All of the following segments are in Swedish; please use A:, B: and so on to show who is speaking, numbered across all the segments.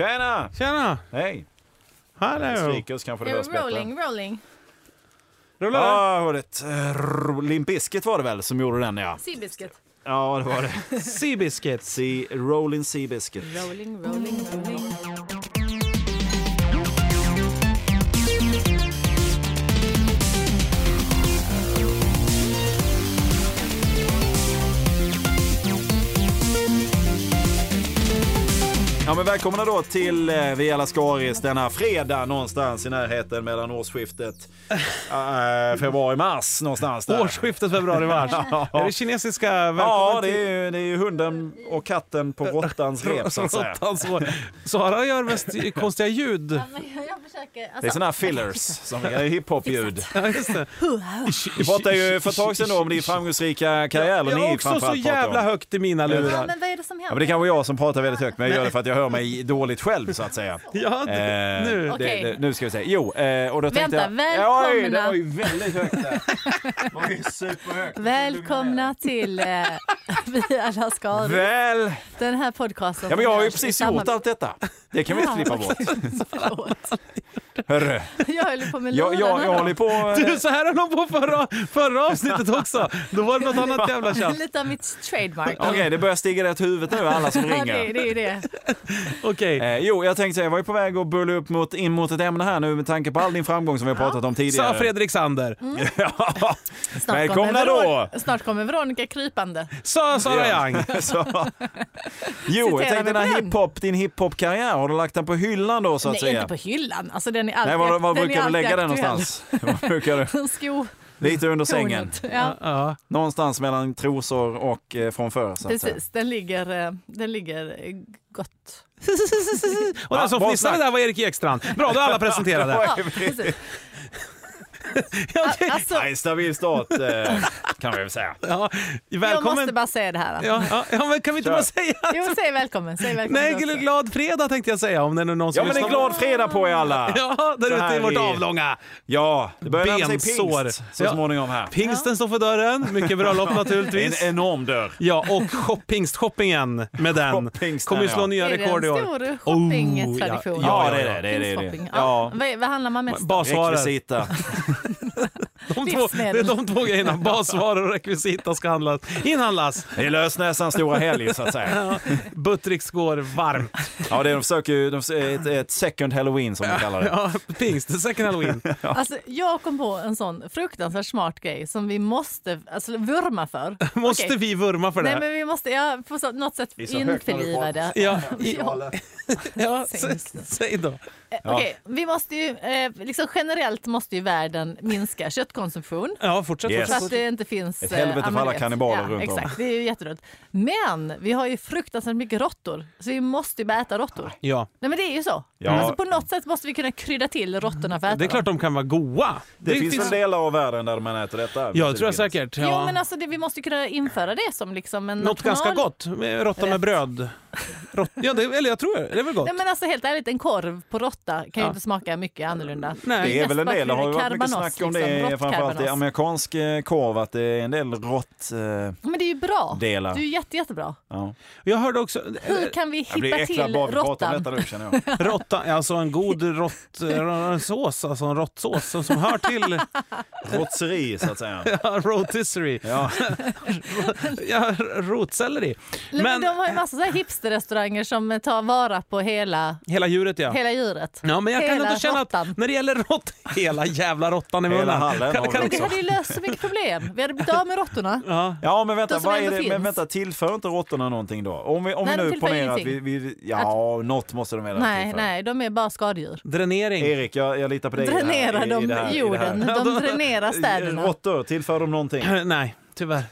A: Tjena!
B: Tjena!
A: Hej!
B: Hallå!
A: Svikus kanske det
C: Eh,
A: hörs bättre.
C: Rolling, rolling.
B: Rullar
A: Ja,
B: det?
A: jag hörde ett, eh, rrr, Limp Bizkit var det väl som gjorde den ja.
C: Seabiscuit.
A: Ja, det var det.
B: Sea Biscuits.
A: Sea, Rolling Sea Biscuit.
C: Rolling, rolling, rolling.
A: Ja, men välkomna då till eh, Via Lascaris denna fredag någonstans i närheten mellan årsskiftet eh, februari-mars någonstans där.
B: Årsskiftet februari-mars. Är det kinesiska
A: Ja,
B: välkommen
A: det
B: till-
A: är, ju, det är ju hunden och katten på råttans rep så att säga.
B: Råttans år. Sara gör mest konstiga ljud.
C: Ja, men jag, jag försöker. Alltså,
A: Det är såna här fillers, som är hiphop-ljud.
B: Ja, just det.
A: Vi pratade ju för ett tag sedan då om din framgångsrika karriär. eller
B: Jag har
A: ni
B: också så
A: framförallt pratade
B: jävla
A: om.
B: högt i mina
C: ja,
B: lurar.
C: men vad är det som
A: Ja,
C: händer?
A: men det är kanske jag som pratar väldigt högt, men jag gör det för att jag hör mig dåligt själv så att säga.
B: Ja,
A: Eh,
B: nu.
A: det,
C: Okej.
A: det, nu ska vi se. Jo, eh, och då tänkte jag...
C: Vänta,
A: Oj, det
C: välkomna.
A: var ju väldigt högt där. Det var ju superhögt.
C: Välkomna till eh, Vi alla skador.
A: Väl...
C: Den här podcasten.
A: Ja, men jag har ju
C: görs i
A: precis
C: samarbete-
A: gjort allt detta. Det kan vi inte
C: Ja,
A: klippa bort.
C: Förlåt.
A: Hörru,
C: Jag höll på med
A: jag, jag, jag håller på... eh,
B: Du, så här höll hon på förra, förra avsnittet också. Då var det något annat jävla tjafs.
C: Lite av mitt trademark.
A: Okej, det börjar stiga rätt huvudet nu, alla som
C: Ja, det,
A: ringer.
C: det är ju det.
B: Okej.
A: Eh, jo, jag tänkte säga, jag var ju på väg att bulla upp mot, in mot ett ämne här nu med tanke på all din framgång som vi har pratat om tidigare.
B: Sa Fredrik Sander.
C: Mm.
A: Ja.
C: Snart
A: Välkomna
C: kommer
A: då!
C: Veron- Snart kommer Veronica krypande.
B: Sa Sara Young.
A: Så. Jo, jag
C: Citera
A: tänkte
C: mig
A: den
C: på
A: här
C: den.
A: hiphop, din hiphopkarriär, har du lagt den på hyllan då så att
C: Nej,
A: säga?
C: inte på hyllan. Alltså, den är
A: Nej,
C: alltid,
A: var, var
C: den är
A: brukar du
C: alltid
A: lägga den
C: aktuell.
A: någonstans? Var brukar du?
C: Sko,
A: Lite under sängen.
C: tornet. Ja,
B: Ja.
A: Någonstans mellan trosor och eh, från förr. Så att säga.
C: precis. Den ligger, eh, den ligger eh, gott.
B: Och den som
A: bra
B: fnissade
A: snack.
B: där var Erik Ekstrand. Bra, då är alla presenterade.
C: Ja, precis.
B: Ja,
C: A- Alltså,
A: Nej, stabil start eh, kan vi väl säga.
B: Ja,
C: Jag måste
B: välkommen.
C: bara säga det här.
B: Ja, ja, ja, men kan vi inte
A: Kör.
B: bara säga
C: Jo, säg välkommen. Säg välkommen
B: Nej,
C: också.
B: gl- glad fredag tänkte jag säga om det är någon som
A: Ja, men en
B: lyssnar.
A: glad fredag på er alla!
B: Ja, där
A: Så
B: ute i
A: här
B: vårt
A: i-
B: avlånga.
A: Ja, det börjar närma sig
B: Bensår.
A: pingst så
B: Ja.
A: småningom här.
B: Pingsten står för dörren, mycket bröllop
A: En
B: naturligtvis.
A: enorm dörr.
B: Ja, och shop, pingstshoppingen med den
A: Shoppingsten,
B: kommer ju slå
A: ja.
B: nya
C: Är det
B: rekord i
C: en
B: år.
C: stor
B: Oh,
C: shoppingtradition?
B: ja,
A: Ja, det är det. det, är det, det. är
C: Shopping.
A: det.
C: Ja.
A: Ja,
C: Vad, vad handlar man mest om?
B: Basvaror.
A: rekvisita.
B: De två, det är
C: Livsmedel.
B: de två grejerna. Basvaror och rekvisita ska handlas, inhandlas.
A: Det är lösnäsans stora helg så att säga.
B: Buttricks går varmt.
A: Ja, det, de försöker ju, de, ett, ett second halloween som de kallar det.
B: Ja, pingst, second halloween.
C: Alltså, jag kom på en sån fruktansvärt smart grej som vi måste alltså, vurma för.
B: Måste
C: Okej.
B: vi vurma för det?
C: Nej,
B: här?
C: men vi måste ja, på så, något sätt
A: är så högt
C: införliva
A: när du
C: det.
B: Ja, i,
C: Ja.
B: ja,
C: Säg
B: s- säg då.
C: Eh, Okej, vi måste ju, eh, liksom generellt måste ju världen minska köttkonsumtion.
B: Ja, fortsätt.
A: Yes.
C: Så
B: fortsätt.
C: att det inte finns...
A: Ett helvete
C: eh,
A: för
C: men du
A: alla
C: vet.
A: kannibaler
C: ja,
A: runt om.
C: Exakt, det är ju jätteroligt. Men vi har ju fruktansvärt mycket råttor, så vi måste ju bara äta råttor.
B: Ja.
C: Nej men det är ju så.
A: Ja.
C: Alltså, på något sätt måste vi kunna krydda till råttorna för att äta
B: Det är klart de kan vara goa.
A: Det, finns, väl delar av världen där man äter detta?
B: Ja, det tror jag säkert.
C: dem.
B: Ja.
C: Jo men alltså det, vi måste kunna införa det som liksom en
B: Något
C: national...
B: ganska gott. Råtta med
C: Rätt.
B: bröd. Rått... Ja, det, eller jag tror det. Det är väl gott?
C: Nej men alltså helt ärligt en korv på råtta kan
B: Ja.
C: ju inte smaka mycket annorlunda.
B: Nej.
A: Det är väl en
C: Nästan
A: del, det har ju varit mycket
C: karbanos,
A: snack om
C: liksom,
A: det,
C: rått
A: framförallt i
C: karbanos.
A: amerikansk eh, korv, att det är en del rått... eh,
C: Men det är ju bra.
A: Delar.
C: Det är ju jätte, jättebra.
A: Ja.
B: Jag hörde också...
C: Hur kan vi
A: Jag blir
C: hippa
A: äcklad
C: till
A: bara vi pratar om detta
C: råttan?
A: nu känner jag.
B: Råtta, alltså en god rått, eh, sås, alltså en råttsås som, som hör till
A: Rotseri så att säga.
B: ja, rotisserie.
A: Ja.
B: Ja, rotselleri.
C: Men, men
B: Men
C: de har ju massa så här hipsterrestauranger som eh, tar vara på hela,
B: hela djuret ja.
C: hela djuret.
B: Ja, men jag kan
C: hela
B: ändå känna att
C: råttan.
B: när det gäller rått, hela jävla råttan i
A: Hela
B: munnen.
A: hallen har
B: kan,
A: vi
B: kan
C: Men det
B: också.
C: hade ju löst så mycket problem. Vi hade blivit av med råttorna.
B: Ja.
A: ja men vänta,
C: Det som
A: vad är
C: ändå
A: det, men
C: finns.
A: vänta, tillför inte råttorna någonting då? Om vi, om
C: Nej,
A: vi
C: de
A: nu
C: tillför
A: ponerar att vi, vi... Ja, något måste de väl
C: Nej,
A: tillföra.
C: nej, de är bara skadedjur.
B: Dränering.
A: Erik, jag, jag litar på dig i det här-
C: Dränerar
A: i- i det här-
C: de
A: i det här.
C: jorden? De dränerar städerna?
A: Råttor, tillför de någonting?
B: Nej, tyvärr.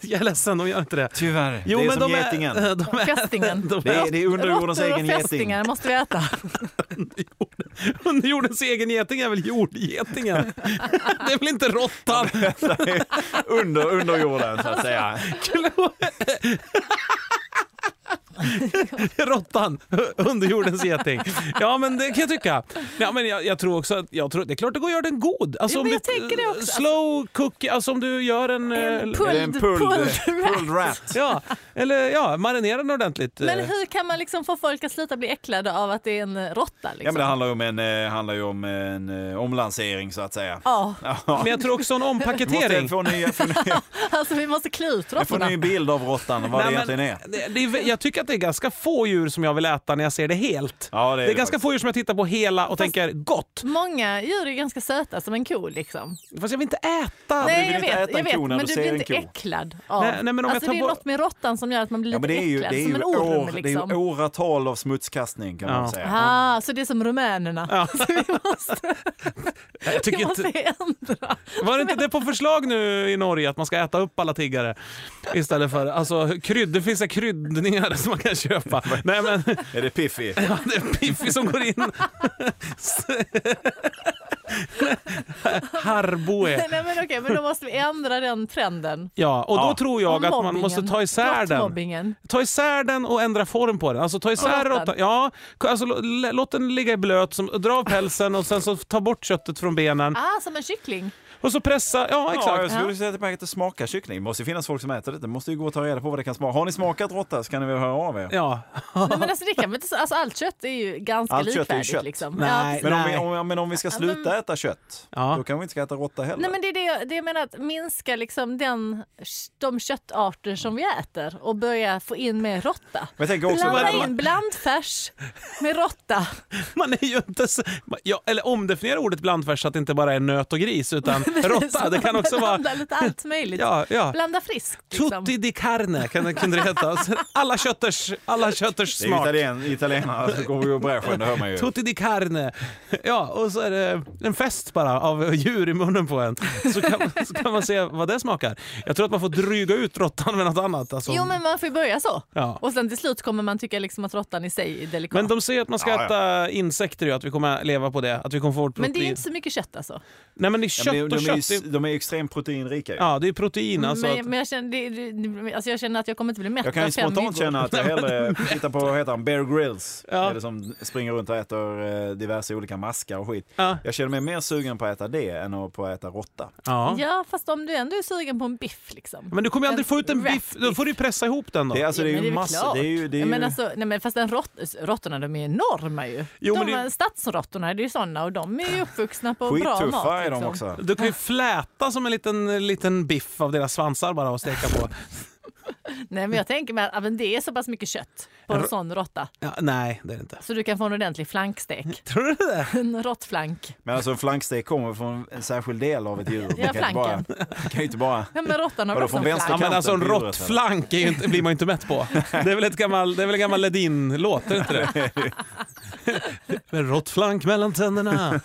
B: Jag är ledsen, de gör inte det.
A: Tyvärr.
B: Jo,
A: det är
B: men
A: som
B: de
A: getingen.
B: Är, de är,
C: Fästingen.
B: de
A: Det är, det är underjordens
C: Råttor
A: egen
C: och
A: geting.
C: fästingar måste vi äta.
B: Underjordens egen geting är väl jordgetingen? Det är väl inte råttan?
C: Alltså,
A: Under, under jorden så att säga.
B: Råttan, underjordens geting. Ja, men det kan jag tycka. Ja, men jag, jag tror också att, jag tror, det är klart det går att göra den god. Alltså,
C: Ja,
B: om
C: men
B: du-
C: jag tänker det också.
B: Slow cookie, alltså om du gör en...
C: En
B: eh,
A: Eller en
C: pulled,
A: pulled,
C: pulled rat.
A: pulled rat.
B: ja, eller ja, marinera den ordentligt.
C: Men
B: eh.
C: hur kan man liksom få folk att sluta bli äcklade av att det är en eh, råtta? Liksom?
A: Ja, men det handlar ju om en, eh, handlar ju om en eh, omlansering så att säga.
C: Ja,
B: Men jag tror också en
A: Vi måste
B: ompaketering.
A: få ny, få ny,
C: alltså vi måste klä ut
A: få
C: råttorna.
A: ny bild av råttan, vad det
B: Nej,
A: egentligen är.
B: men det- det är vä- jag tycker att det är ganska få djur som jag vill äta när jag ser det helt.
A: Ja, det är
B: det är
A: det
B: ganska
A: faktiskt.
B: få djur som jag tittar på hela och tänker gott.
C: Många djur är ganska söta som en ko liksom.
B: Fast jag vill inte äta.
A: du
C: Nej,
A: vill
C: jag
A: inte
C: vet,
A: äta en
C: jag vet
A: ko när
C: men
A: du
C: du
A: ser
C: blir
A: en
C: inte
A: ko.
C: äcklad av.
B: Nej, nej, men om jag
C: alltså,
B: tar
C: det är
B: bort-
C: något med råttan som gör att man blir
A: Ja, men
C: lite
A: det är ju,
C: äcklad,
A: det är
C: som en
A: ju,
C: orm.
A: år, det är
C: liksom.
A: ju åratal av smutskastning kan man
B: Ja.
A: säga.
C: Ah, så det är som rumänerna. Så vi måste,
B: Jag tycker
C: vi
B: inte,
C: måste ändra.
B: var det inte det på förslag nu i Norge att man ska äta upp alla tiggare? Istället för, alltså krydd, det finns så här kryddningar som man kan köpa. Nej men,
A: Är det Piffi?
B: ja, det är Piffi som går in. Harboe.
C: Nej, men okej, men då måste vi ändra den trenden.
B: Ja, och då
A: Ja.
B: tror
C: Om
B: jag att man
C: mobbingen.
B: måste ta isär den.
C: Råttmobbingen.
B: Ta isär den och ändra form på den. Alltså ta isär
C: råttan.
B: råttan. Ja, alltså, lå- lä- låt den ligga i blöt, som, dra av pälsen och sen så ta bort köttet från benen.
C: Ah, som en kyckling.
B: Och så pressa, ja
A: Ja, jag
B: exakt.
A: skulle säga att det inte smaka kyckling. Det måste ju finnas folk som äter det. Det måste ju gå att ta reda på vad det kan smaka. Har ni smakat råtta så kan ni väl höra av er.
B: Ja.
C: Nej, men alltså, det kan, väl inte- alltså, allt kött är ju ganska
A: Allt kött är ju
C: likvärdigt.
A: kött.
C: Liksom.
B: Nej.
C: Ja, precis.
A: Men om, vi,
B: Nej.
A: om, men om vi ska sluta äta kött,
B: Ja.
A: då kan vi inte ska äta råtta heller.
C: Nej, men det är det, jag- det jag menar, att minska liksom den, de köttarter som vi äter och börja få in mer råtta.
A: Men jag tänker också...
C: Blanda
A: vad-
C: in blandfärs med råtta.
B: Man är ju inte så, ja, eller omdefiniera ordet blandfärs så att det inte bara är nöt och gris utan råtta. Det kan också vara
C: Blanda lite allt möjligt.
B: ja, ja.
C: Blanda friskt. Liksom.
B: tutti di carne kan det, kunde det heta. Alltså, Alla kötters, alla kötters
A: Det är ju
B: smak.
A: italien, italienare som går i bräschen, det hör man ju.
B: Tutti di carne. Ja, och så är det en fest bara av djur i munnen på en. Så kan, så kan man se vad det smakar. Jag tror att man får dryga ut råttan med något annat. Alltså.
C: Jo men man får ju börja så.
B: Ja.
C: Och sen till slut kommer man tycka liksom att råttan i sig är delikat.
B: Men
C: Men,
B: de säger att man ska
A: Ja, ja.
B: äta insekter ju, att vi kommer att leva på det. Att vi kommer få vårt protein.
C: det är ju inte så mycket kött alltså.
B: Nej men det är
A: Ja,
B: kött
A: men de,
B: och
A: de, är ju,
B: kött.
A: s- de är ju extremt proteinrika ju.
B: Ja, det är protein alltså.
C: men,
B: att-
C: men jag, känner, det, det, alltså jag känner att jag kommer inte bli mätt
A: Jag kan
C: av
A: ju
C: fem
A: spontant
C: myggor.
A: känna att jag hellre tittar på vad heter han, Bear Grylls.
B: Ja.
A: Eller som springer runt och äter eh, diverse olika maskar och skit.
B: Ja.
A: Jag känner mig mer sugen på att äta det än att- på att äta råtta.
B: Ja.
C: Ja fast om du ändå är sugen på en biff liksom.
B: Men du kommer ju aldrig få ut en
C: Rat
B: biff. Då får du ju pressa ihop den då.
A: Det är, alltså, det är
C: men
A: ju
C: väl
A: massor.
C: klart.
A: Det är ju, det är
C: Ja, men
A: ju,
C: alltså, nej, men fast den rott, råttorna de är ju enorma ju.
B: Jo,
C: de,
B: men det-
C: Stadsråttorna det är ju sådana och de är ju uppvuxna på bra mat.
A: skittuffa är de
C: liksom.
A: också.
B: Du kan ju fläta som en liten, liten biff av deras svansar bara och steka på.
C: Nej men jag tänker mig att ja, men det är så pass mycket kött på en sån råtta.
B: Ja, nej, det är det inte.
C: Så du kan få en ordentlig flankstek.
B: Tror du det?
C: En råttflank.
A: Men alltså en flankstek kommer från en särskild del av ett djur. Man
C: Ja,
A: kan inte bara...
C: flanken.
A: Man kan ju inte bara
C: Ja, men råttan
A: Vadå,
C: har väl också
A: från
C: en
A: vänster
B: Ja,
C: flank.
B: men alltså en
A: Kanten på djuret,
B: råttflank är ju inte, blir man ju inte mätt på. Det är väl, ett gammal, det är väl en gammal Ledin-låt, är det inte det? Med råttflank mellan tänderna.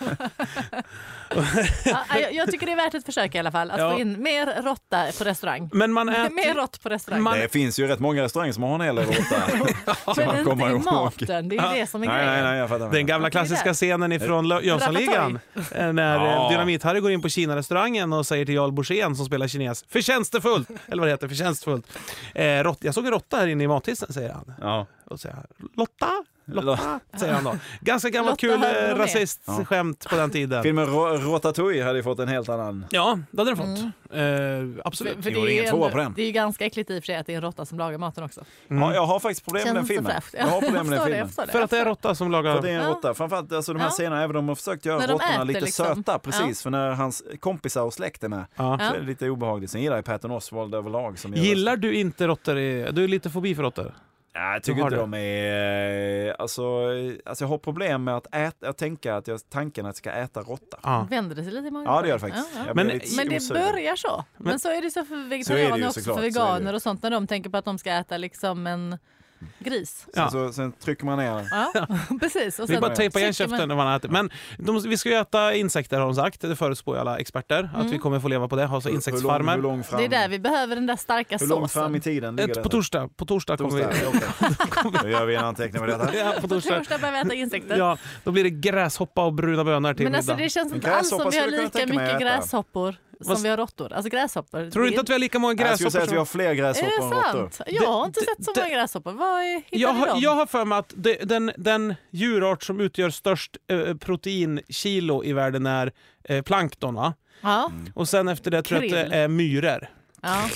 C: Ja, jag, jag tycker det är värt ett försök i alla fall. Att
B: Ja.
C: få in mer råtta på restaurang.
B: Men man äter...
C: Mer rått på restaurang.
B: Man-
A: Det finns ju rätt många restauranger som har en hel del råtta.
C: men
A: man
C: inte
A: kommer
C: i
A: ihåg.
C: maten. Det är ju det som är
A: Nej,
C: grejen.
A: nej, nej, jag fattar.
B: Den gamla klassiska scenen ifrån Lö- Jönssonligan. Eh,
A: Ja.
B: När ja. Dynamit-Harry går in på Kina-restaurangen och säger till Jarl Borssén som spelar kines, förtjänstefullt! Eller vad det heter, förtjänstfullt. Eh, rått, jag såg en råtta här inne i mathissen, säger han.
A: Ja.
B: Och säger han, Lotta? Lotta, säger han då. Ganska gammalt
C: Lotta
B: kul
C: hörde
B: eh,
C: de med.
B: rasistskämt på den tiden.
A: Filmen Rå- Ratatouille hade ju fått en helt annan...
B: Ja, det hade den fått. Eh, absolut.
C: Mm. För, för
A: Jo,
C: det, är
A: det är
C: ju
A: ingen tvåa
C: ändå-
A: på den.
C: det är ju ganska äckligt i och för sig att det är en råtta som lagar maten också.
B: Mm.
A: Ja, jag har faktiskt problem med den
C: Känns inte
A: filmen.
C: fräscht.
A: Jag har problem med den
C: förstår det,
A: filmen.
C: förstår det.
B: För att det är råtta som
A: För att det
B: lagar...
A: är en
C: Ja.
A: råtta. Framförallt alltså, de här
C: Ja.
A: scenerna, även om de har försökt göra
C: När de
A: råttorna
C: äter,
A: lite
C: liksom.
A: söta, precis,
C: Ja.
A: för när hans kompisar och släkt är med
B: Ja.
A: så är det lite obehagligt. Sen gillar jag Patton Oswald överlag. Som gör
B: Gillar du inte råttor? i- Du är lite fobi för råttor.
A: Nej, jag
B: Du
A: tycker
B: har
A: inte
B: det.
A: de är... eh, Alltså, eh, alltså, jag har problem med att äta, jag tänker att jag, tanken att jag ska äta råtta.
B: Ja.
C: Vänder det sig lite i magen?
A: Ja, det gör det faktiskt.
C: Ja, ja.
A: Jag
B: Men-
A: blir lite
C: Men det
A: osugen.
C: börjar så. Men, så är det så för
A: Så är det
C: vegetarianer
A: ju
C: och också,
A: såklart,
C: för
A: så är det ju.
C: veganer och sånt när de tänker på att de ska äta liksom en gris.
A: Sen,
B: Ja. Alltså
A: så, sen trycker man ner den.
C: Ja, precis. Och
B: Vi
C: sen
B: bara tejpar igen
C: trycker alltså, man-
B: käften när man äter. Men de, vi ska ju äta insekter har de sagt. Det förutspår ju alla experter. Att
C: Mm.
B: vi kommer få leva på det. Ha
A: Hur
B: så
A: lång, hur
B: insektsfarmer.
A: lång fram,
C: Det är där vi behöver den där starka
A: hur långt fram i
C: såsen.
A: tiden ligger
B: Ett,
A: det?
B: Eh, på torsdag. På torsdag kommer vi...
A: Nu gör vi en anteckning på detta.
B: Ja, på
C: På
B: torsdag.
C: torsdag behöver vi äta insekter.
B: Ja, då blir det gräshoppa och bruna bönor till
C: Men alltså
B: middag.
C: det känns
A: En
C: inte alls som
A: gräshoppa
C: vi har
A: skulle jag kunna
C: lika
A: tänka mig
C: mycket
A: att äta.
C: gräshoppor som
B: Vad-
C: vi har råttor. Alltså gräshoppor.
B: Tror du inte att vi har lika många
A: Jag skulle
B: gräshoppor
A: säga att vi har
B: som...
A: fler gräshoppor än
C: Är det
A: råttor.
C: sant? Jag har
B: Det-
C: inte sett så
B: det-
C: många gräshoppor. Var är- hittar
B: Jag
C: ni
B: har,
C: dem?
B: jag har för mig att det, den, den djurart som utgör störst eh, proteinkilo i världen är eh, plankton va?
C: Ja,
B: Och sen efter det tror jag att det
C: Krill.
B: är myror.
C: ja,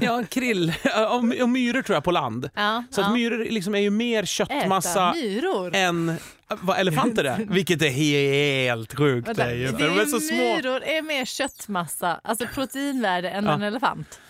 B: Ja, krill. Och, my- och myror tror jag på land.
C: ja,
B: Så
C: ja.
B: att myror liksom är ju mer köttmassa
C: Äta myror.
B: än eh, vad elefanter är. Vilket är helt sjukt.
C: Vänta,
B: det är ju,
C: det
B: för de är så små.
C: Myror är mer köttmassa, alltså proteinvärde, än
B: Ja.
C: en elefant.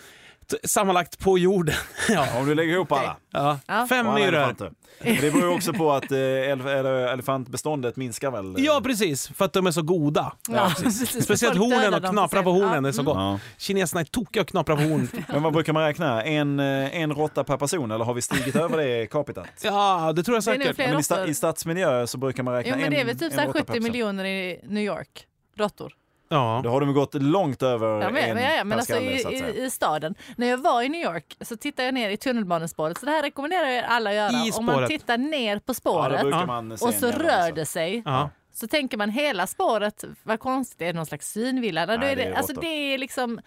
B: T- Sammanlagt på jorden. ja.
A: Om du lägger ihop alla.
B: Ja.
C: Ja.
A: Och
B: Fem
A: alla
B: myror.
A: elefanter. Men det beror ju också på att eh, elef- eller elefantbeståndet minskar väl? eh?
B: Ja, precis. För att de är så goda.
C: Ja, precis.
B: Speciellt
C: Folk
B: hornen,
C: dödar
B: och
C: dem
B: knapra
C: för
B: på
C: sen.
B: hornen är så gott.
A: Ja.
B: Kineserna är tokiga och knapra på horn.
A: Men vad brukar man räkna? En, eh, en råtta per person eller har vi stigit över det capitat?
B: Ja, det tror jag
C: Det är nog
B: säkert.
C: fler
A: Men i, sta,
C: råttor.
A: I stadsmiljö så brukar man räkna
C: Jo, men
A: en,
C: det är väl typ
A: en
C: så här
A: råtta per
C: 70
A: person.
C: miljoner i New York, råttor.
B: Ja.
A: Då har de gått långt över
C: Ja,
A: en
C: men, ja, ja, men
A: per
C: alltså
A: skalle,
C: i,
A: så att säga.
C: i, i staden. När jag var i New York så tittade jag ner i tunnelbanespåret. Så det här rekommenderar jag er alla att göra.
B: I
C: Om man
B: spåret.
C: tittar ner på
A: ja, då
C: spåret
A: brukar
B: Ja.
A: man se
C: och
A: en
C: så
A: jävla
C: rör
A: massa.
C: det sig.
B: Ja.
C: Så tänker man hela spåret, vad konstigt, är det någon slags synvilla? Nej, då
A: Nej,
C: är det,
A: det är
C: alltså
A: råttor.
C: det är liksom,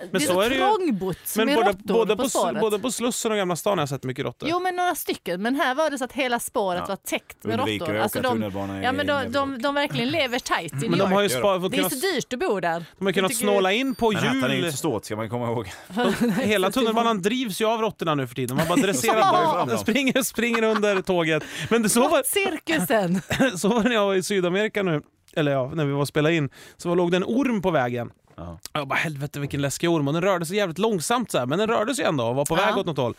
C: det
B: Men
C: är
B: så
C: så
B: är det ju.
C: trångbott
B: Men
C: med
B: både,
C: råttor
B: både,
C: på
B: på, sl-
C: spåret.
B: både på Slussen och Gamla stan har jag sett mycket råttor.
C: Jo men några stycken, men här var det så att hela spåret
A: Ja.
C: var täckt med
A: Undviker att
C: råttor.
A: åka
C: Alltså de,
A: tunnelbana
C: ja,
A: i
C: men de,
A: New
C: de,
A: York.
C: de verkligen lever tight i New York.
B: Men de har ju spa-
C: det är
B: kunnat,
C: så dyrt att bo där.
B: de har kunnat
C: tycker-
B: snåla in på
A: Manhattan är ju inte
B: hjul.
A: så stort ska man komma ihåg.
B: Hela tunnelbanan drivs ju av råttorna nu för tiden. Man bara dresserar
A: Ja.
B: dem. De springer, springer under tåget. Men det, så, var,
C: Cirkusen!
B: så var det när jag var i Sydamerika nu. Eller ja, när vi var och spelade in. Så var, låg det en orm på vägen.
A: Ja.
B: Och Jag bara helvete vilken läskig orm. Och den rörde sig jävligt långsamt så här. Men den rörde sig ändå och var på
C: Ja.
B: väg åt något håll.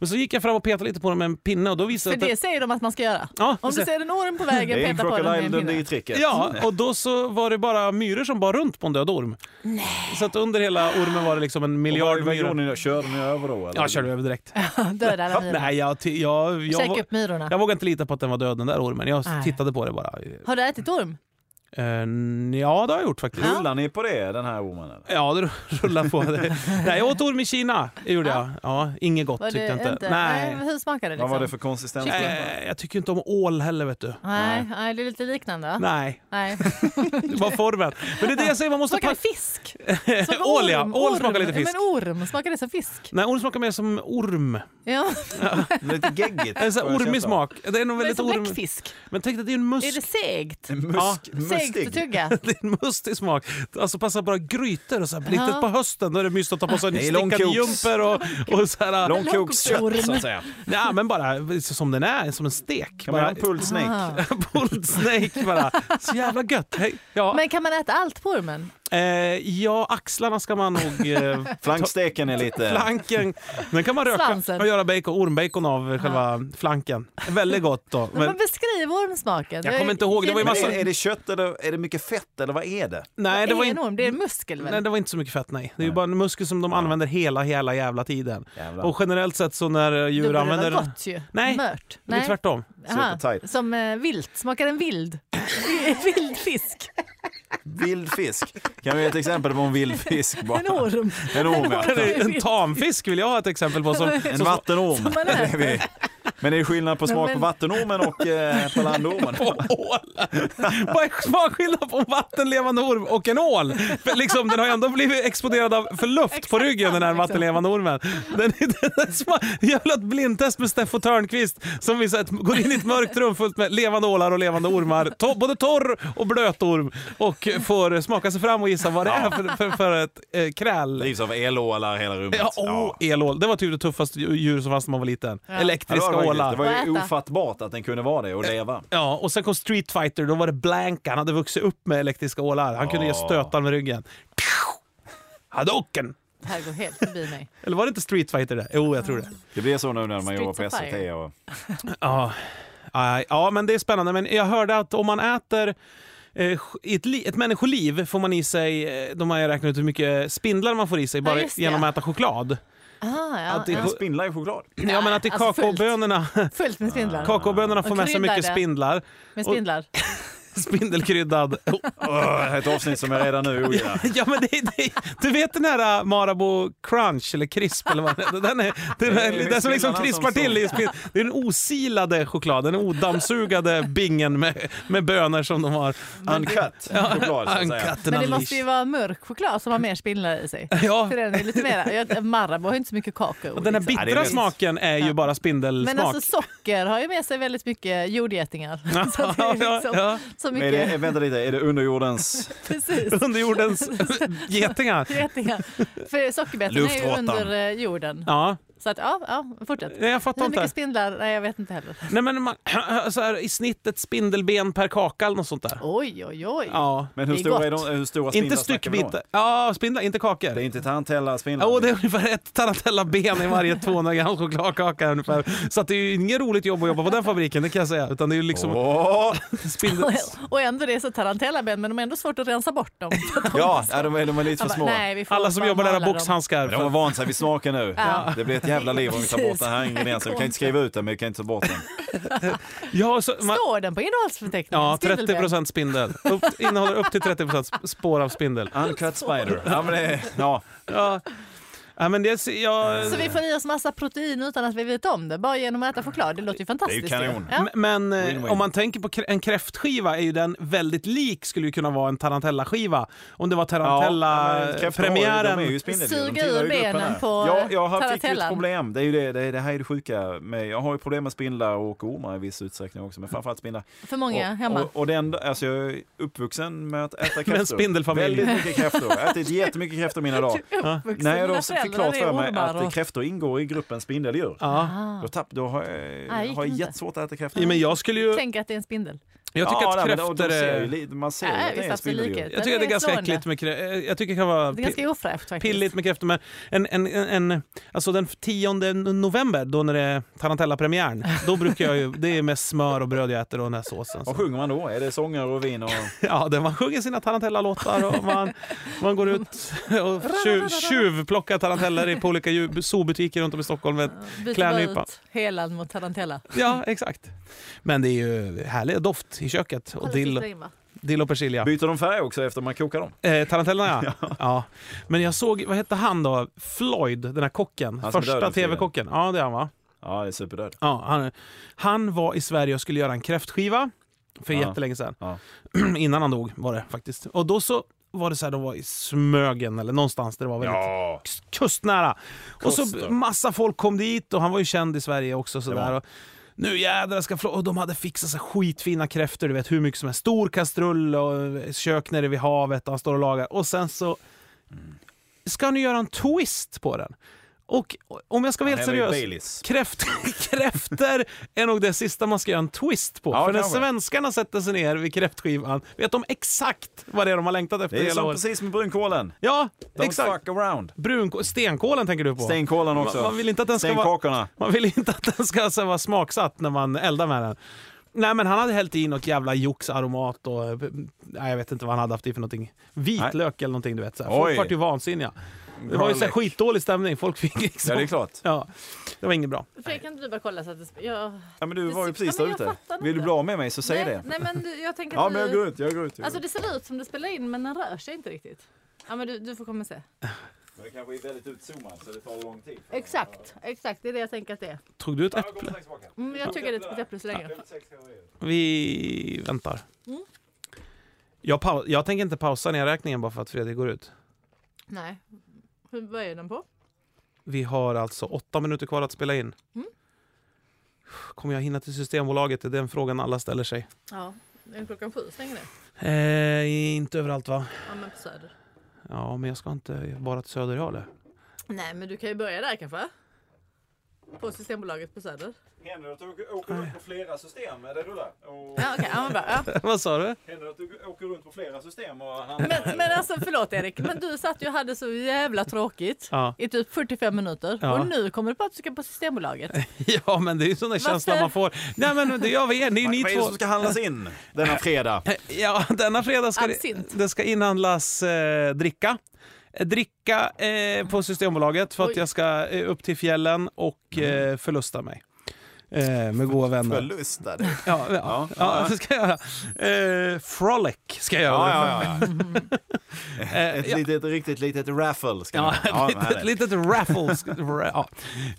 B: Men så gick jag fram och petade lite på den med en pinne och då visade
C: För
B: det sig
C: det säger de att man ska göra.
B: Ja,
C: Om du
B: så-
C: ser en orm på
A: Det
C: vägen,
A: är en
C: peta på den med
A: Crocodile
C: en pinne.
A: Dundee-tricket.
B: Ja, och då så var det bara myror som bar runt på en död orm. Så att under hela ormen var det liksom en miljard
A: Vad- Vad gjorde
B: myror.
A: ni då? Körde ni över då? Eller?
B: Jag körde över direkt.
C: Döda alla myror.
B: Nej, jag, ty- jag, jag,
C: Käka
B: jag,
C: upp myrorna.
B: jag vågade inte lita på att den var död den där ormen. Jag
C: Nej.
B: tittade på det bara.
C: Har du ätit orm?
B: Eh, ja, det har jag gjort faktiskt.
C: Ja.
A: Rullar ni på det, den här ormen? Eller?
B: Ja, det rullar på. Nej, jag åt orm i Kina. Det gjorde jag. Ja, inget gott
C: Var
B: tyckte
C: det
B: jag inte.
C: inte?
B: Nej.
C: Nej, Hur smakade det?
A: Vad
C: Liksom?
A: var det för konsistens?
C: Kyckling.
B: Eh, jag tycker inte om ål heller, vet du.
C: Nej, nej, det är lite liknande. va?
B: Nej,
C: Nej.
B: det var formen. Men det är det jag säger, man måste...
C: Smakade
B: pa-
C: fisk? Smakade
B: Ål, ja.
C: orm?
B: Ål smakar
C: Orm?
B: lite fisk.
C: Men orm, smakade det som fisk?
B: Nej, orm smakar mer som orm.
C: Ja,
A: Lite geggigt.
B: Det är så här ormig smak. Det är nog
C: men
B: väldigt
C: som
B: orm...
C: bläckfisk.
B: Men tänk dig att det är en
C: Är
B: musk.
C: det segt?
B: Ja,
A: Musk,
C: Segt att
A: mustig.
C: tugga?
B: Det är en mustig smak. Alltså passar bra grytor och så här,
C: Ja.
B: riktigt på hösten då är det mysigt att ta på sig en
A: Det är
B: stickad
A: långkoks.
B: jumper och, och så här.
A: Långkokskött så att säga.
B: Ja, men bara som den är, som en stek.
A: Kan man göra
B: Bara,
A: en pulled snake?
C: Ah.
B: pulled snake bara. Så jävla gött. Hej. Ja.
C: Men kan man äta allt på ormen?
B: eh, ja, axlarna ska man nog... Eh,
A: Flanksteken är lite...
B: flanken. Den kan man röka
C: Svansen.
B: och göra bacon, ormbacon av eh, själva flanken. Väldigt gott då.
C: Men,
B: Men,
C: beskriv ormsmaken.
B: Jag kommer inte ihåg, det var ju
A: Men
B: massa-
A: är, är det kött eller är det mycket fett eller vad är det?
B: nej, det var
C: en
B: inte...
C: orm? Det är en muskel väl?
B: Nej, det var inte så mycket fett, nej. Det är ju bara en muskel som de använder hela, hela jävla tiden.
A: Jävlar.
B: Och generellt sett så när eh, djur
C: det borde
B: använder...
C: vara gott ju.
B: Nej.
C: Mört.
B: Det är tvärtom.
C: Aha,
A: Supertight.
C: Som eh, vilt. Smakar den vild? vild fisk.
A: Vild fisk. Kan vi ge ett exempel på en vild fisk? Bara?
C: En orm.
A: En orm, ja.
B: Det är En tamfisk vill jag ha ett exempel på. Som,
A: En
B: som-
A: vattenorm.
C: Som man
A: Det är
C: äter.
A: vi. Men det är skillnad på
C: Men-
A: smak på
C: men-
A: vattenormen och eh, på landormen.
B: på ålen. Vad är smakskillnad på en vattenlevande orm och en ål? För liksom, den har ju ändå blivit exponerad av för luft på ryggen
C: liksom.
B: den här vattenlevande ormen. Den, den, den sma, jävla ett blindtest med Steffo Törnqvist som visar att går in i ett mörkt rum fullt med levande ålar och levande ormar. To, både torr och blöt orm och får smaka sig fram och gissa vad det är för, för, för ett eh, kräl.
A: Drivs av elålar hela rummet.
B: Ja, åh, elål. Det var typ det tuffaste djur som fanns när man var liten.
A: Ja, det,
B: Elektriska
A: var, det,
B: ålar.
A: det var ju
C: Och äta.
A: ofattbart att den kunde vara det och leva.
B: Ja, och sen kom Street Fighter. Då var det Blanka. Han hade vuxit upp med elektriska ålar. Han kunde ge
A: Ja.
B: stötar med ryggen. Hadoken!
C: Det här går helt förbi mig.
B: Eller var det inte Street Fighter det? Jo, jag tror det.
A: Det blir så nu när man jobbar på
C: Streets of
A: SVT.
C: Fire.
A: Och...
B: Ja, Aj, ja men det är spännande. Men jag hörde att om man äter eh, i ett, li- ett människoliv får man i sig, eh, de har ju räknat ut hur mycket spindlar man får i sig bara
C: just det,
B: genom
C: ja.
B: att äta choklad.
C: Ah, ja,
B: Att det-
C: ja.
A: Men spindlar i choklad.
B: Ja men att i
C: alltså fullt.
B: kakaobönorna,
C: Fullt med spindlar.
B: kakaobönorna får
C: Och
B: med sig mycket
C: kryddade.
B: spindlar.
C: Med spindlar.
B: spindelkryddad. Oh.
A: Åh, ett avsnitt som jag redan nu ogillar.
B: Ja, men det, det, du vet den här äh, Marabou crunch eller crisp eller vad den heter? Den, är, den,
A: Det
B: är,
A: är
B: den som liksom
A: spindlarna
B: krispar
A: som
B: till. i spinn- Det är den osilade chokladen, den odammsugade bingen med, med bönor som de har.
A: Uncut choklad så att säga.
B: Ankatten
C: Men det måste ju vara mörk choklad som har mer spindlar i sig.
B: Ja,
C: För den är lite mer, jag- Marabou har ju inte så mycket kakao.
B: och den här
C: liksom.
A: Ja, det är
B: bittra
A: väldigt-
B: smaken är ju bara
C: Men
B: spindelsmak.
C: alltså socker har ju med sig väldigt mycket jordgetingar. Så att det
B: Ja,
C: är
B: ja,
C: liksom
B: ja.
C: så
A: Är det,
C: mycket,
A: vänta lite, är det underjordens...
C: precis,
B: Underjordens getingar.
C: getingar. För sockerbetan är ju
A: Luftråttan.
C: under eh, jorden.
B: Ja,
C: Så att, ja, ja fortsätt.
B: nej, jag fattar
C: Hur
B: inte.
C: mycket spindlar? Nej, jag vet inte heller.
B: Nej, men man, så här, I snitt ett spindelben per kaka eller något sånt där.
C: Oj, oj, oj.
B: Ja.
A: Men hur
C: Det är
A: stora, är
C: gott.
A: de, hur stora spindlar
B: Inte
A: snackar vi om?
B: styckbitar. Ja, spindlar, inte kakor.
A: Det är inte tarantella-spindlar.
B: Ja, och det är ungefär ett tarantellaben i varje 200 gram chokladkaka ungefär. Så att det är ju inget roligt jobb att jobba på den fabriken, det kan jag säga. Utan det är ju liksom
A: Åh!
B: spindel...
C: Och ändå det är så tarantellaben men de är ändå svårt att rensa bort dem. Så att de-
A: Ja, nej, de, är, de är lite för
C: Han bara,
A: små.
C: Nej, vi får
B: Alla som
C: bara
B: jobbar där
C: mala
B: har
C: dem."
B: boxhandskar.
A: Men de har vant sig vid smaken nu.
C: Ja.
A: Det blir ett jävla liv om vi tar bort den här ingrediensen. Vi kan inte skriva ut den, men vi kan inte ta bort den.
B: Ja, så man...
C: Står den på innehållsförteckningen?
B: ja 30
C: Spindelben.
B: procent spindel. Upp, innehåller upp till 30 procent spår av spindel.
A: Uncut spider. Ja, men det, ja.
B: Ja. Ja, men det, ja,
C: Så vi får i oss massa protein utan att vi vet om det, bara genom att äta choklad. Det låter ju fantastiskt.
A: kanon.
C: Ja.
B: M- Men eh,
A: Win-win.
B: om man tänker på krä- en kräftskiva är ju den väldigt lik skulle ju kunna vara en tarantellaskiva. Om det var
A: Ja, men kräftor har ju-
B: tarantella-premiären.
A: De är ju spindeldjur. eh, De
C: Suga
A: tillhör ju
C: ur
A: gruppen
C: benen
A: här.
C: på
A: ja, Jag har fick ju ett
C: tarantellan.
A: problem. Det, är ju det, det, det här är det sjuka. Med, jag har ju problem med spindlar och ormar i viss utsträckning också, men framförallt spindlar.
C: För många hemma.
A: Och, och, och den, alltså jag är uppvuxen med att äta kräftor.
B: spindelfamilj.
A: Väldigt mycket kräftor. Jag har ätit jättemycket kräftor mina dagar.
C: Vuxna,
A: När jag då
C: dina
A: fick
C: föräldrar
A: klart
C: är
A: för mig
C: ormar
A: att
C: och-
A: kräftor ingår i gruppen spindeldjur,
B: Ja.
C: Ah.
A: då, tapp, då har jag,
C: Nej, gick
A: har jag
C: inte.
A: jättesvårt att äta kräftor.
B: Ja, men jag skulle ju...
C: Tänk att det är en spindel.
B: Jag tycker att
A: nej, men då- då
B: kräftor
A: ser ju
B: är...
A: li- Man ser ju
C: Nej,
A: att det
C: visst,
A: är en
C: absolut
A: spindeldjur.
C: inte.
B: Jag tycker att det är
C: Den är
B: ganska
C: slående.
B: äckligt med kräftor. Jag tycker det kan vara
C: Det är ganska ofräscht faktiskt.
B: pilligt med kräftor. Men en, en, en, en, alltså den 10 november, då när det är tarantellapremiären, då brukar jag ju... Det är med smör och bröd jag äter och den här såsen.
A: Vad
B: Så.
A: sjunger man då? Är det sånger och vin och...
B: Ja, där man sjunger sina tarantellalåtar och man, man går ut och tju- tjuvplockar taranteller i på olika djur- zoobutiker runt om i Stockholm. Men,
C: Byter
B: Klärnypa.
C: bara ut helan mot tarantella.
B: ja, exakt. Men det är ju härlig doft i köket. Och
C: Kolla, sitter
B: dill,
C: in, va?
B: dill och persilja.
A: Byter de färg också efter man kokar dem?
B: Eh, tarantellerna ja. ja. Men jag såg, vad hette han då? Floyd, den här kocken.
A: Han som
B: Första
A: dödade tv.
B: tv-kocken. Ja, det är han va?
A: Ja, det är superdöd.
B: Ja, han, han var i Sverige och skulle göra en kräftskiva för
A: Ja.
B: jättelänge sedan.
A: Ja.
B: Innan han dog var det faktiskt. Och då så var det så här, de var i Smögen eller någonstans där det var väldigt
A: Ja,
B: kustnära. Och så
A: Kusten.
B: massa folk kom dit och han var ju känd i Sverige också.
A: Det var
B: Sådär.
A: han.
B: Och nu jädrar ska flå... Och de hade fixat sig skitfina kräftor, du vet hur mycket som helst. Stor kastrull och kök nere vid havet och han står och lagar. Och sen så ska han ju göra en twist på den. Och och om jag ska vara helt
A: Henry
B: seriös.
A: Baileys.
B: Kräft, kräfter är nog det sista man ska göra en twist på.
A: Ja,
B: För när
A: kanske.
B: svenskarna sätter sig ner vid kräftskivan vet de exakt vad det är de har längtat efter
A: Det är
B: hela
A: som
B: året.
A: precis med brunkålen.
B: Ja,
A: Don't
B: exakt.
A: fuck around.
B: Brunkål, stenkålen tänker du på?
A: Stenkålen också.
B: Man- man vill inte att den ska vara-
A: Stenkakorna.
B: Man vill inte att den ska så här, vara smaksatt när man eldar med den. Nej men han hade hällt i något jävla joxaromat och... eh, Nej jag vet inte vad han hade haft i för någonting. Vitlök eller någonting du vet. Så här.
A: Oj.
B: Folk vart ju vansinniga. Det var ju så här
A: Garlic.
B: skitdålig stämning. Folk fick liksom...
A: Ja, det är klart.
B: Ja, det var inget bra.
C: Fredrik, kan inte du bara kolla så att det... Jag...
A: Ja, men du
C: Det
A: var ju
C: ser-
A: precis
C: Ja,
A: där
C: men jag
A: ute.
C: fattar
A: Vill
C: inte.
A: du bli av med mig så säg
C: nej,
A: det.
C: nej, men du, jag tänker att
A: Ja, men jag
C: vi-
A: går ut. Jag går ut. Jag går
C: Alltså
A: ut.
C: det ser ut som du spelar in men den rör sig inte riktigt. Ja men du, du får komma och se.
A: Men det kanske är väldigt utzoomat så det tar lång tid.
C: Exakt, exakt det är det jag tänker att det är.
B: Tog du ett
A: Jag
B: äpple?
A: kommer strax tillbaka.
C: Mm, jag tuggar lite på ett äpple så länge.
A: 56 kalorier.
B: Vi väntar.
C: Mm.
B: Jag, pau- jag tänker inte pausa nedräkningen bara för att Fredrik går ut.
C: Nej. Hur börjar den på?
B: Vi har alltså åtta minuter kvar att spela in.
C: Mm.
B: Kommer jag hinna till Systembolaget? Det är den frågan alla ställer sig.
C: Ja, är det klockan sju stänger det?
B: Eh, inte överallt va?
C: Ja men på Söder.
B: Ja, men jag ska inte bara till Söder jag, eller?
C: Nej men du kan ju börja där kanske? På Systembolaget på Söder.
A: Händer det att du åker runt på flera system? Är det rullar? Och
C: Ja okej, ja, men bra. Ja.
B: Vad sa du?
A: händer det att du åker runt på flera system och
C: Men, men alltså förlåt Erik, men du satt ju och hade så jävla tråkigt.
B: Ja,
C: I typ 45 minuter
B: Ja.
C: och nu kommer du på att du ska på Systembolaget.
B: ja men det är ju sån där känsla man får. Nej, men det gör vi igen. Det är ju
A: Vad
B: ni
A: är det
B: två.
A: som ska handlas in denna fredag?
B: Ja, denna fredag ska det,
C: Absint.
B: det ska inhandlas eh, dricka. Eh, Dricka eh, på Systembolaget för att
C: Oj.
B: Mm. jag ska eh, upp till fjällen och eh, förlusta mig. eh, med goda vänner.
A: Förlustade.
B: Ja, ja, ja, det ska jag göra. Eh, frolic ska jag göra.
A: Ja, ja, ja.
B: Eh,
A: Ett
B: ja.
A: litet, riktigt litet raffle ska
B: Ja,
A: man
B: ett
A: ha.
B: litet,
A: härligt.
B: litet raffle. Ra- ja.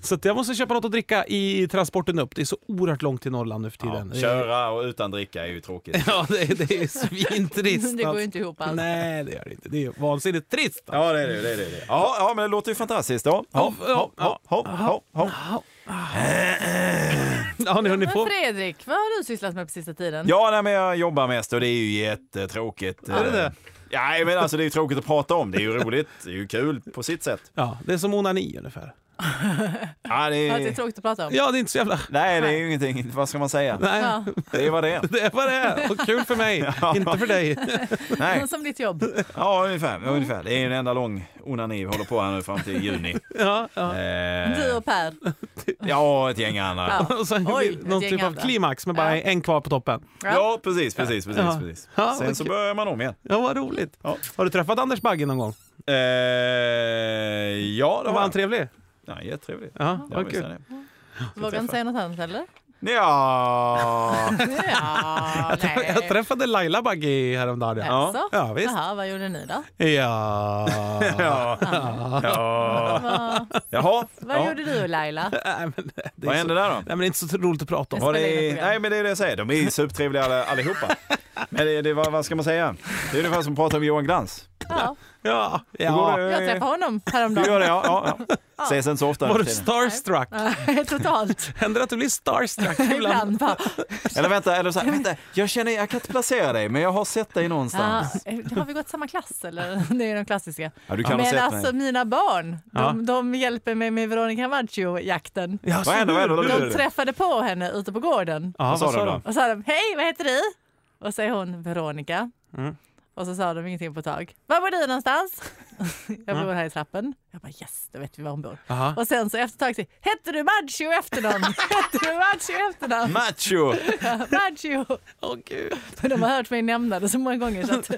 B: Så att jag måste köpa något att dricka i transporten upp. Det är så oerhört långt till Norrland nu för tiden.
A: Ja,
B: Det är-
A: köra och utan dricka är ju tråkigt.
B: Ja, det, är- det är svintrist.
C: Det går
B: alltså.
C: ju inte ihop alls.
B: Nej, det gör det inte. Det är ju vansinnigt trist. alltså.
A: Ja, det är det. det, är det. Ja, ja, men det låter ju fantastiskt. Ja. Hopp, hopp, hopp, hopp, hopp, hopp.
B: Ja, ni, hörni,
C: Men
B: får...
C: Fredrik, vad har du sysslat med på sista tiden?
A: Ja, nej, men jag jobbar mest och det är ju jättetråkigt.
B: Är det det?
A: Nej, men alltså det är ju tråkigt att prata om. Det är ju roligt. Det är ju kul på sitt sätt.
B: ja, det är som onani ungefär.
A: Ja, det
C: Ja, det är
A: är...
C: tråkigt att prata om.
B: Eh, Ja, det är inte så jävla...
A: Nej, det är ju ingenting. Vad ska man säga?
B: Nej,
C: Ja.
A: Det är vad det är.
B: det är vad det är. Och kul för mig, inte för dig.
A: Nej,
C: Som ditt jobb.
B: Eh.
A: ja, ungefär. ungefär. Det är ju en enda lång onani vi håller på här nu fram till juni.
B: Ja, ja.
C: Du
A: Eh,
C: och Per.
A: ja, ett gäng andra.
C: Ja.
B: Och sen
C: Oj,
B: blir det någon
C: ett gäng
B: typ av
C: andra.
B: klimax med bara
C: Ja.
B: en kvar på toppen.
A: Ja, precis, precis, precis.
B: Ja.
A: precis.
B: Ja,
A: Sen så
B: okej.
A: börjar man om igen.
B: Ja, vad roligt.
A: Ja.
B: Har du träffat Anders Bagge någon gång?
A: Eh, ja, det
B: Var
A: var
B: han
A: han.
B: trevlig?
A: Ja, jättetrevligt.
B: Ja,
A: Jag
B: vad
A: missade
B: kul.
A: det.
C: Vågar inte säga något annat eller?
A: Ja.
C: Ja,
B: Jag träffade Laila Bagge häromdagen. Ja,
C: Alltså?
B: ja visst.
C: Jaha, vad gjorde ni då?
B: Ja.
A: Ja. ja.
C: Vad,
A: Jaha.
C: vad
A: ja.
C: gjorde du Laila?
B: Nej, men eh,
A: Vad
B: det är så...
A: hände där då?
B: Nej, men det är inte så roligt att prata om.
A: Har
C: spelar in ett
A: det...
C: program.
A: Nej men det är det jag säger, de är ju supertrevliga alla- allihopa. Men det, det, vad, vad ska man säga? Det är ungefär som att prata med Johan Glans.
C: Ja,
B: Ja,
A: Hur går
B: ja.
A: det?
C: jag träffade honom häromdagen.
A: Du gör det ja. ja, ja. Ses inte så ofta. nu
B: Var
A: för
B: du
A: tiden.
B: starstruck?
C: Nej, Totalt.
B: Händer det att du blir starstruck ibland?
C: Ibland bara.
A: Eller vänta, eller så här, vänta, jag känner, jag kan inte placera dig men jag har sett dig
C: Ja, eh,
A: någonstans.
C: har vi gått samma klass eller? Det är de klassiska.
A: Ja, du kan ha
C: Men
A: sett
C: alltså
A: mig.
C: mina barn,
B: Ja.
C: de, de hjälper mig med Veronica Maggio-jakten.
B: Ja, så
A: Vad hände, vad hände, vad
B: du-
A: hände?
C: De träffade på henne ute på gården
B: Ja,
A: Vad sa de då?
C: och sa de, hej vad heter du? Och säger hon Veronica.
B: Mm.
C: Och så sa de ingenting på ett tag. Var bor du någonstans? jag
B: Mm.
C: bor här i trappen. Jag bara yes, då vet vi var hon bor.
B: Jaha.
C: Och sen så efter ett tag så, hette du Maggio i efternamn? hette du Maggio i efternamn?
A: Macho!
C: Maggio.
B: Åh gud.
C: Men de har hört mig nämna det så många gånger så att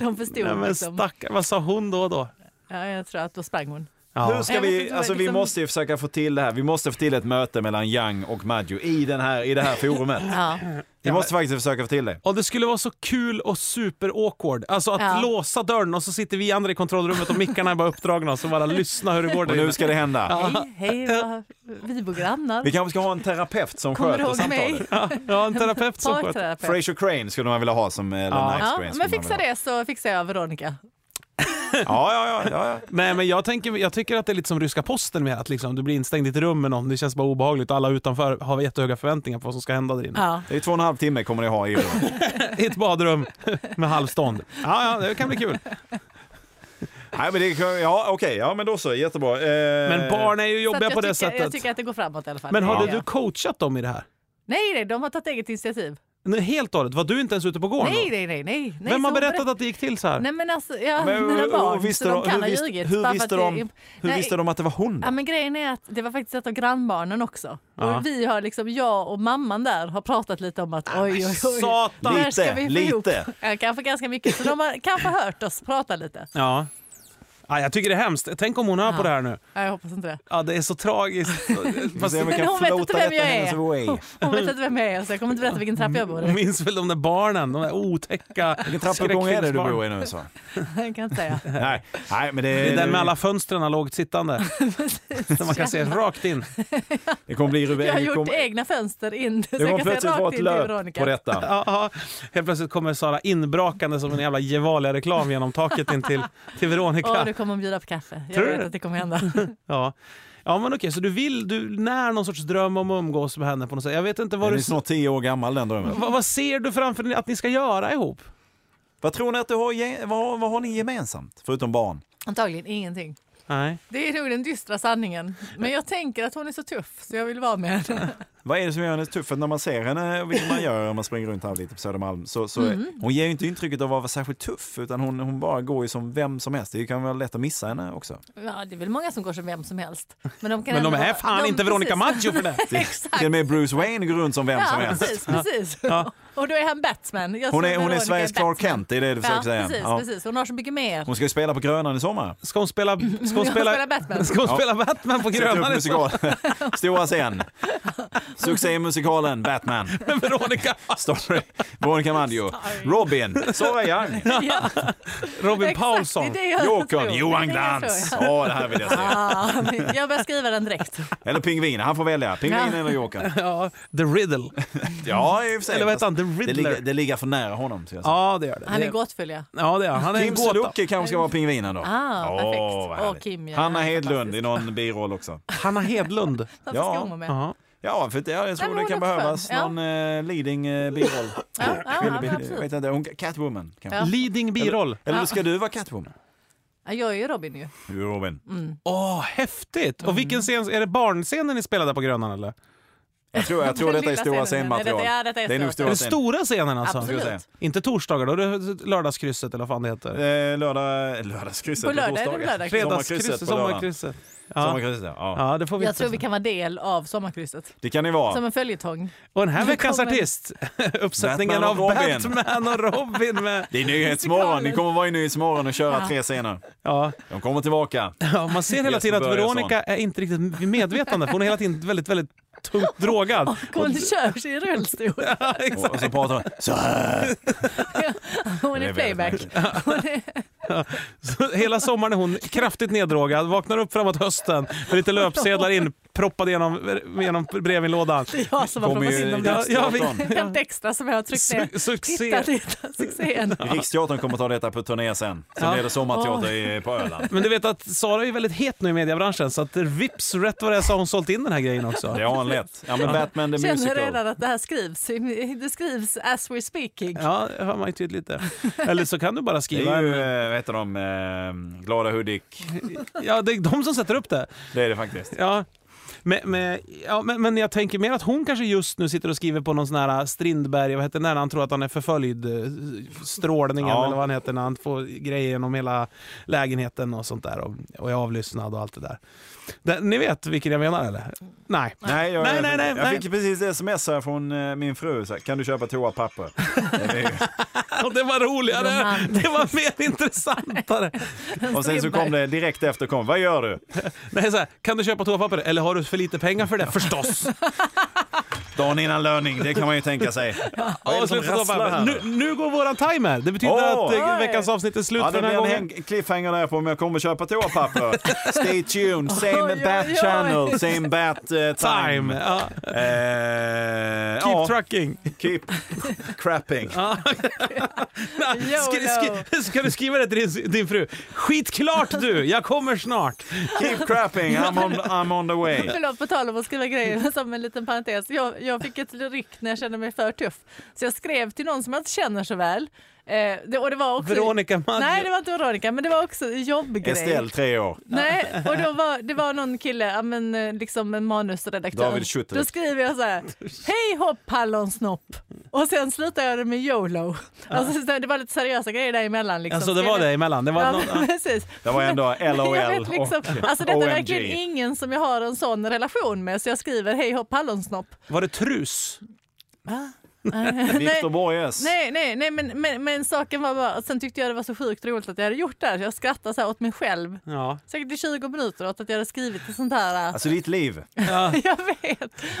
C: de förstod.
B: Nej, men
C: liksom.
B: stackar, vad sa hon då då?
C: ja, jag tror att då sprang hon.
A: Hur
B: Ja.
A: ska
C: Jag vet
A: vi,
C: inte,
A: alltså vi
C: liksom-
A: måste ju försöka få till det här. Vi måste få till ett möte mellan Young och Maggio i, den här, i det här forumet.
C: Ja.
A: Vi måste faktiskt försöka få till det.
B: Och det skulle vara så kul och super awkward. Alltså att
C: Ja.
B: låsa dörren och så sitter vi andra i kontrollrummet och mickarna är bara uppdragna och så bara lyssna hur det går
A: Och
B: där
A: nu
B: inne.
A: ska det hända.
C: Hej, hej, vad- vi bor grannar.
A: Vi kanske ska ha en terapeut som
C: Kommer du
A: sköter
C: ihåg mig?
A: samtalet.
B: Ja, en terapeut som sköter.
C: Parkterapeut.
A: Fraser Crane skulle man vilja ha som eller
B: Ja.
A: Night
C: Ja,
A: Crane skulle
C: men
A: man
C: fixa
A: vilja
C: det så fixar jag Veronica.
B: Mm.
A: ha. Ja, ja, ja, ja, ja.
B: Nej, men jag, tänker, jag tycker att det är lite som ryska posten med att liksom, du blir instängd i ett rum med någon. Det känns bara obehagligt och alla utanför har jättehöga förväntningar på vad som ska hända där inne.
C: Ja.
A: Det är två och en halv timme kommer ni ha i år.
B: I ett badrum med halvstånd. Ja, ja, det kan bli kul.
A: Nej, men det kan- Ja, okej. Ja, men då så. Jättebra. Eh,
B: Men barn är ju
C: Så att
B: jobbiga
C: jag
B: på det
C: tycker, Jag
B: sättet.
C: tycker att det går framåt i alla fall.
B: Men
C: Det
B: hade
C: gör
B: du
C: jag.
B: coachat dem i det här?
C: Nej, nej, de har tagit eget initiativ.
B: Nej, Helt och hållet? Var du inte ens ute på gården
C: Nej,
B: då?
C: nej, nej. nej. nej
B: Vem har
C: så
B: berättat
C: berätt-
B: att det gick till så här?
C: Nej, men alltså, ja,
A: Men
C: mina
A: hur-
C: barn,
A: hur visste
C: så de
A: de-
C: kan
A: hur
C: ha
A: visste-
C: ljugit.
A: hur
C: bara för
A: visste
C: att det-
A: de- Hur
C: Nej,
A: visste de att det var hon?
C: Ja, men grejen är att det var faktiskt ett av grannbarnen också.
B: Ja.
C: Och vi har liksom, jag och mamman där har pratat lite om att oj, oj, oj.
B: Satan!
C: Där ska
A: Lite,
C: vi få
A: lite.
C: ihop. Ja, kanske ganska mycket. Så de har kanske hört oss prata lite.
B: Ja. ja. Jag tycker det är hemskt. Tänk om hon hör på det här nu.
C: Ja, jag hoppas inte det.
B: Ja, det är så tragiskt. Fast
A: Vi
C: Men
A: kan
C: hon vet inte
A: floata
C: vem
A: detta
C: jag
A: hennes
C: är.
A: way.
C: Hon vet inte vem jag är så jag kommer inte berätta vilken trappa jag bor
B: hon
C: i.
A: Mm.
B: minns väl de där barnen, de där otäcka
A: Vilken trappuppgång är det du bor i nu? Så?
C: Jag kan inte säga.
A: Nej, nej, men det,
B: Det är där med alla fönstren lågt sittande. Där man kan se rakt in.
A: det kommer bli Ruben.
C: Jag har
A: det
C: gjort
A: kommer-
C: egna fönster in så
A: Det
C: jag
A: kommer
C: kan se
A: plötsligt vara
C: rakt
A: ett
C: in till
A: löp
C: Veronica.
A: på detta.
B: Ja, ja. Helt plötsligt kommer Sara inbrakande som en jävla Gevalia-reklam genom taket in till, till
C: Åh,
B: Veronica.
C: du kommer hon bjuda på kaffe. Jag
B: Tror du
C: vet
B: det?
C: att det kommer hända.
B: Ja. ja, men okej, så du vill, du när någon sorts dröm om att umgås med henne på något sätt. Jag vet inte vad
A: Den är
B: du...
A: snart tio år gammal den drömmen.
B: Vad, vad ser du framför dig att ni ska göra ihop?
A: Vad tror ni att du har, ge- vad, har- vad har ni gemensamt? Förutom barn.
C: Antagligen ingenting.
B: Nej.
C: Det är nog den dystra sanningen. Men jag tänker att hon är så tuff så jag vill vara med henne.
A: Vad är det som gör henne så tuff? För när man ser henne, vilket man gör om man springer runt här lite på Södermalm, så, så
C: Mhm.
A: hon ger ju inte intrycket av att vara särskilt tuff, utan hon, hon bara går ju som vem som helst. Det kan vara lätt att missa henne också.
C: Ja, det är väl många som går som vem som helst. Men de, kan
B: Men de
C: ändå
B: är
C: vara-
B: fan
C: de-
B: inte Veronica
C: precis.
B: Maggio för det.
A: Till och med Bruce Wayne går runt som vem som
C: Ja,
A: helst.
C: precis. precis.
B: Ja.
C: Och då är han Batman. Jag
A: Hon
C: ser
A: är, hon är
C: Veronica
A: Sveriges
C: Batman.
A: Clark Kent, det är det du försöker
C: Ja,
A: säga.
C: precis,
A: Ja.
C: precis. Hon har så mycket mer.
A: Hon ska ju spela på Grönan i sommar.
B: Ska hon spela, ska hon
C: Jag
B: spela,
C: spelar Batman.
B: ska hon
A: Ja.
B: spela Batman på
A: Sätta upp
B: Grönan?
A: musikal. Stora scen. Succémusikalen Batman.
B: Veronica.
A: Story. Veronica Maggio. Robin. Sara Young.
C: Ja,
B: Robin
C: exakt,
B: Paulsson.
C: det är det jag
A: Jokern.
C: tror.
A: Johan
C: Det är det jag
A: Glans.
C: tror,
A: Åh,
C: ja.
A: det här vill jag se.
C: Ah, men jag börjar skriva den direkt.
A: Eller Pingvinen. Han får välja. Pingvinen
C: Ja.
A: eller Jokern.
B: Ja, The Riddle.
A: Ja, i och för sig.
B: Eller vad heter han? The
A: Det ligger,
B: Riddler.
A: det ligger för nära honom. Ska jag säga.
B: Ja, det gör det.
C: Han är
B: det.
C: gåtfull ja.
B: Ja, det är han. Han är en
A: Kim
B: gåta.
A: Sulocki kanske ska vara pingvinen då.
C: Ah,
A: Åh,
C: perfekt.
A: vad
C: Åh,
A: härligt.
C: Kim, ja,
A: Hanna
C: han är
A: Hedlund i
C: fantastisk.
A: någon biroll också.
B: Hanna Hedlund.
C: Varför
A: Ja.
C: ska hon vara med?
B: Ja.
A: Ja, för det, jag tror
C: men
A: det
C: hon
A: kan
C: är också
A: behövas
C: skön. Ja.
A: någon eh, leading eh, biroll.
C: Ja, ja,
A: Kvinnlig
C: men
A: bi-
C: absolut.
A: vet jag inte, hon, Catwoman kanske.
C: Ja.
B: Leading biroll.
A: Eller ska du vara Catwoman?
C: Ja, Jag är ju Robin ju.
A: Du Robin.
C: Mm.
B: Åh, häftigt! Och vilken scen, är det barnscenen ni spelade på Grönan eller?
A: Jag tror, jag tror
C: Den
A: detta är
C: lilla
A: stora
C: scenen. Nej,
A: scenmaterial.
C: detta- ja, detta är
A: det är nog
B: Är
A: stora
B: det
A: scen.
B: stora scenen alltså?
A: Absolut. Ska jag
C: Absolut.
A: säga.
B: Inte torsdagar då, det är lördagskrysset eller vad fan det heter.
A: Eh, lördag, lördagskrysset
C: På lördag är det
A: torsdagar.
C: lördag.
B: Fredagskrysset,
A: på lördagen.
B: sommarkrysset. Ja.
A: Sommarkrysset, ja. ja.
B: ja, det får vi
C: Jag
B: inte.
C: tror vi kan vara del av sommarkrysset.
A: Det kan ni
C: Som
A: vara.
C: en följetong.
B: Och den här
C: Vi
B: veckans
C: kommer-
B: artist, uppsättningen
A: Batman och
B: av
A: Robin.
B: Batman och Robin med...
A: Det är Nyhetsmorgon. Ni kommer vara i Nyhetsmorgon och köra tre scener.
B: Ja,
A: De kommer tillbaka.
B: ja, man ser hela
A: Jesper
B: tiden att
A: Börjesson.
B: Veronica är inte riktigt medvetande för hon är hela tiden väldigt, väldigt tungt drogad.
C: Hon kör sig i rullstol.
B: Ja,
A: Och, och
B: exakt.
A: så pratar de så här.
C: Hon
A: Det
C: är
A: vet
C: playback.
A: man
C: Hon är...
B: Så Hela sommaren är hon kraftigt neddrogad, vaknar upp framåt hösten med lite löpsedlar inproppade genom, genom brevinlådan.
C: Det är jag som har
A: Kommer
C: plockat in
A: ju
C: dem
B: Ja,
C: där.
B: ja, vi-
A: Riksteatern.
C: Helt extra som jag har tryckt ner.
B: Su- succé.
C: Titta, titta, succén.
A: Riksteatern kommer ta detta på turné sen. Sen
B: Ja.
A: blir det sommarteater i- på Öland.
B: Men du vet att Sara är ju väldigt het nu i mediebranschen så att vips, rätt vad det är så har hon sålt in den här grejen också.
A: Det har han lätt. Ja, men Batman the
C: Känner redan
A: Musical.
C: att det här skrivs. i- Det skrivs as we're speaking.
B: Ja, det hör man ju tydligt det. Eller så kan du bara
A: Det
B: skriva
A: är ju,
B: en...
A: eh, vad heter de, eh, Glada Hudik.
B: Ja, det är de som sätter upp det.
A: Det är det faktiskt.
B: Ja. Men, men, ja, men, men jag tänker mer att hon kanske just nu sitter och skriver på någon sån här äh, Strindberg, vad heter den, när han tror att han är förföljd, eh, strålningen
A: Ja.
B: eller vad han heter, när han får grejer genom hela lägenheten och sånt där och, och är avlyssnad och allt det där. Det, ni vet vilken jag menar eller? Nej.
A: Nej, jag,
B: Nej, nej, nej,
A: jag
B: nej.
A: fick precis sms här från eh, min fru. Så här, kan du köpa toapapper? Det är ju-
B: Och det var roligare,
C: Romantiskt.
B: det var mer intressantare.
A: Och sen så kom det direkt efter, kom, vad gör du?
B: Nej, så här, kan du köpa toapapper eller har du för lite pengar för det? Förstås!
A: Dagen innan löning, det kan man ju tänka sig. Vad är det som
B: Och slutet av
A: rasslar
B: papper.
A: här?
B: nu, nu går våran timer! Det betyder
A: Åh!
B: att eh,
C: Oj.
B: veckans avsnitt är slut
A: Ja,
B: för
A: det
B: den här
A: blir en
B: gången.
A: häng- cliffhanger där på om jag kommer köpa toapapper. Stay tuned, same
C: Oj, oj,
A: bat
C: oj.
A: channel, same bat eh, time.
B: Time! Ja.
A: Eh,
B: Keep
A: ja,
B: trucking!
A: keep crapping.
B: Skri,
C: YOLO.
B: skri, ska du skriva det till din, din fru? Skitklart du! Jag kommer snart!
A: Keep crapping, I'm on, I'm on the way.
C: Förlåt, på tal om att skriva grejer, men som en liten parentes. Jag, jag fick ett ryck när jag kände mig för tuff. Så jag skrev till någon som jag inte känner så väl. Eh, det, och det var också,
B: Veronica Maggio.
C: Nej, det var inte Veronica, men det var också en jobbgrej.
A: Estelle, tre år.
C: Nej, och då var, det var någon kille, ja, men, eh, liksom en manusredaktör.
A: David Schutterich.
C: Då skriver jag så här, hej hopp hallonsnopp. Och sen slutar jag det med YOLO. Alltså, så det var lite seriösa grejer däremellan. Liksom.
B: Alltså det var det emellan. Det var
C: Ja,
B: någon,
C: men precis.
A: Det var ändå
C: Jag
A: LOL
C: vet liksom,
A: och
C: alltså detta är
A: OMG.
C: verkligen ingen som jag har en sån relation med så jag skriver hej hopp hallonsnopp.
B: var det trus?
C: nej,
A: Victor Borges.
C: nej, nej, nej men, men, men saken var bara, sen tyckte jag det var så sjukt roligt att jag hade gjort det här. så Jag skrattade så här åt mig själv,
B: Ja.
C: säkert i 20 minuter åt att jag hade skrivit ett sånt här.
A: Alltså ditt liv.
B: Ja.
C: jag vet!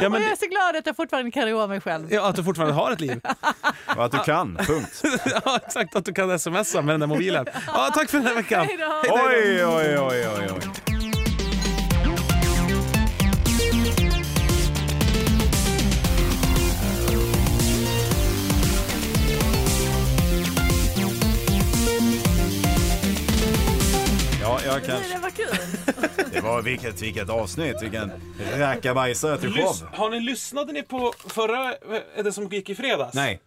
B: Ja, men
C: och jag
B: det-
C: är så glad att jag fortfarande kan roa mig själv.
B: Ja, att du fortfarande har ett liv.
A: Och att du kan, punkt.
B: Ja, exakt, att du kan smsa med den där mobilen. Ja, tack för den här veckan.
C: Hej då.
A: Oj, oj, oj, oj, oj. Ja, jag kan.
C: Det var kul.
A: Det var vilket, vilket avsnitt, vilken rackabajsare du kom.
B: Lys- har ni lyssnade ni på förra, eh, det som gick i fredags?
A: Nej.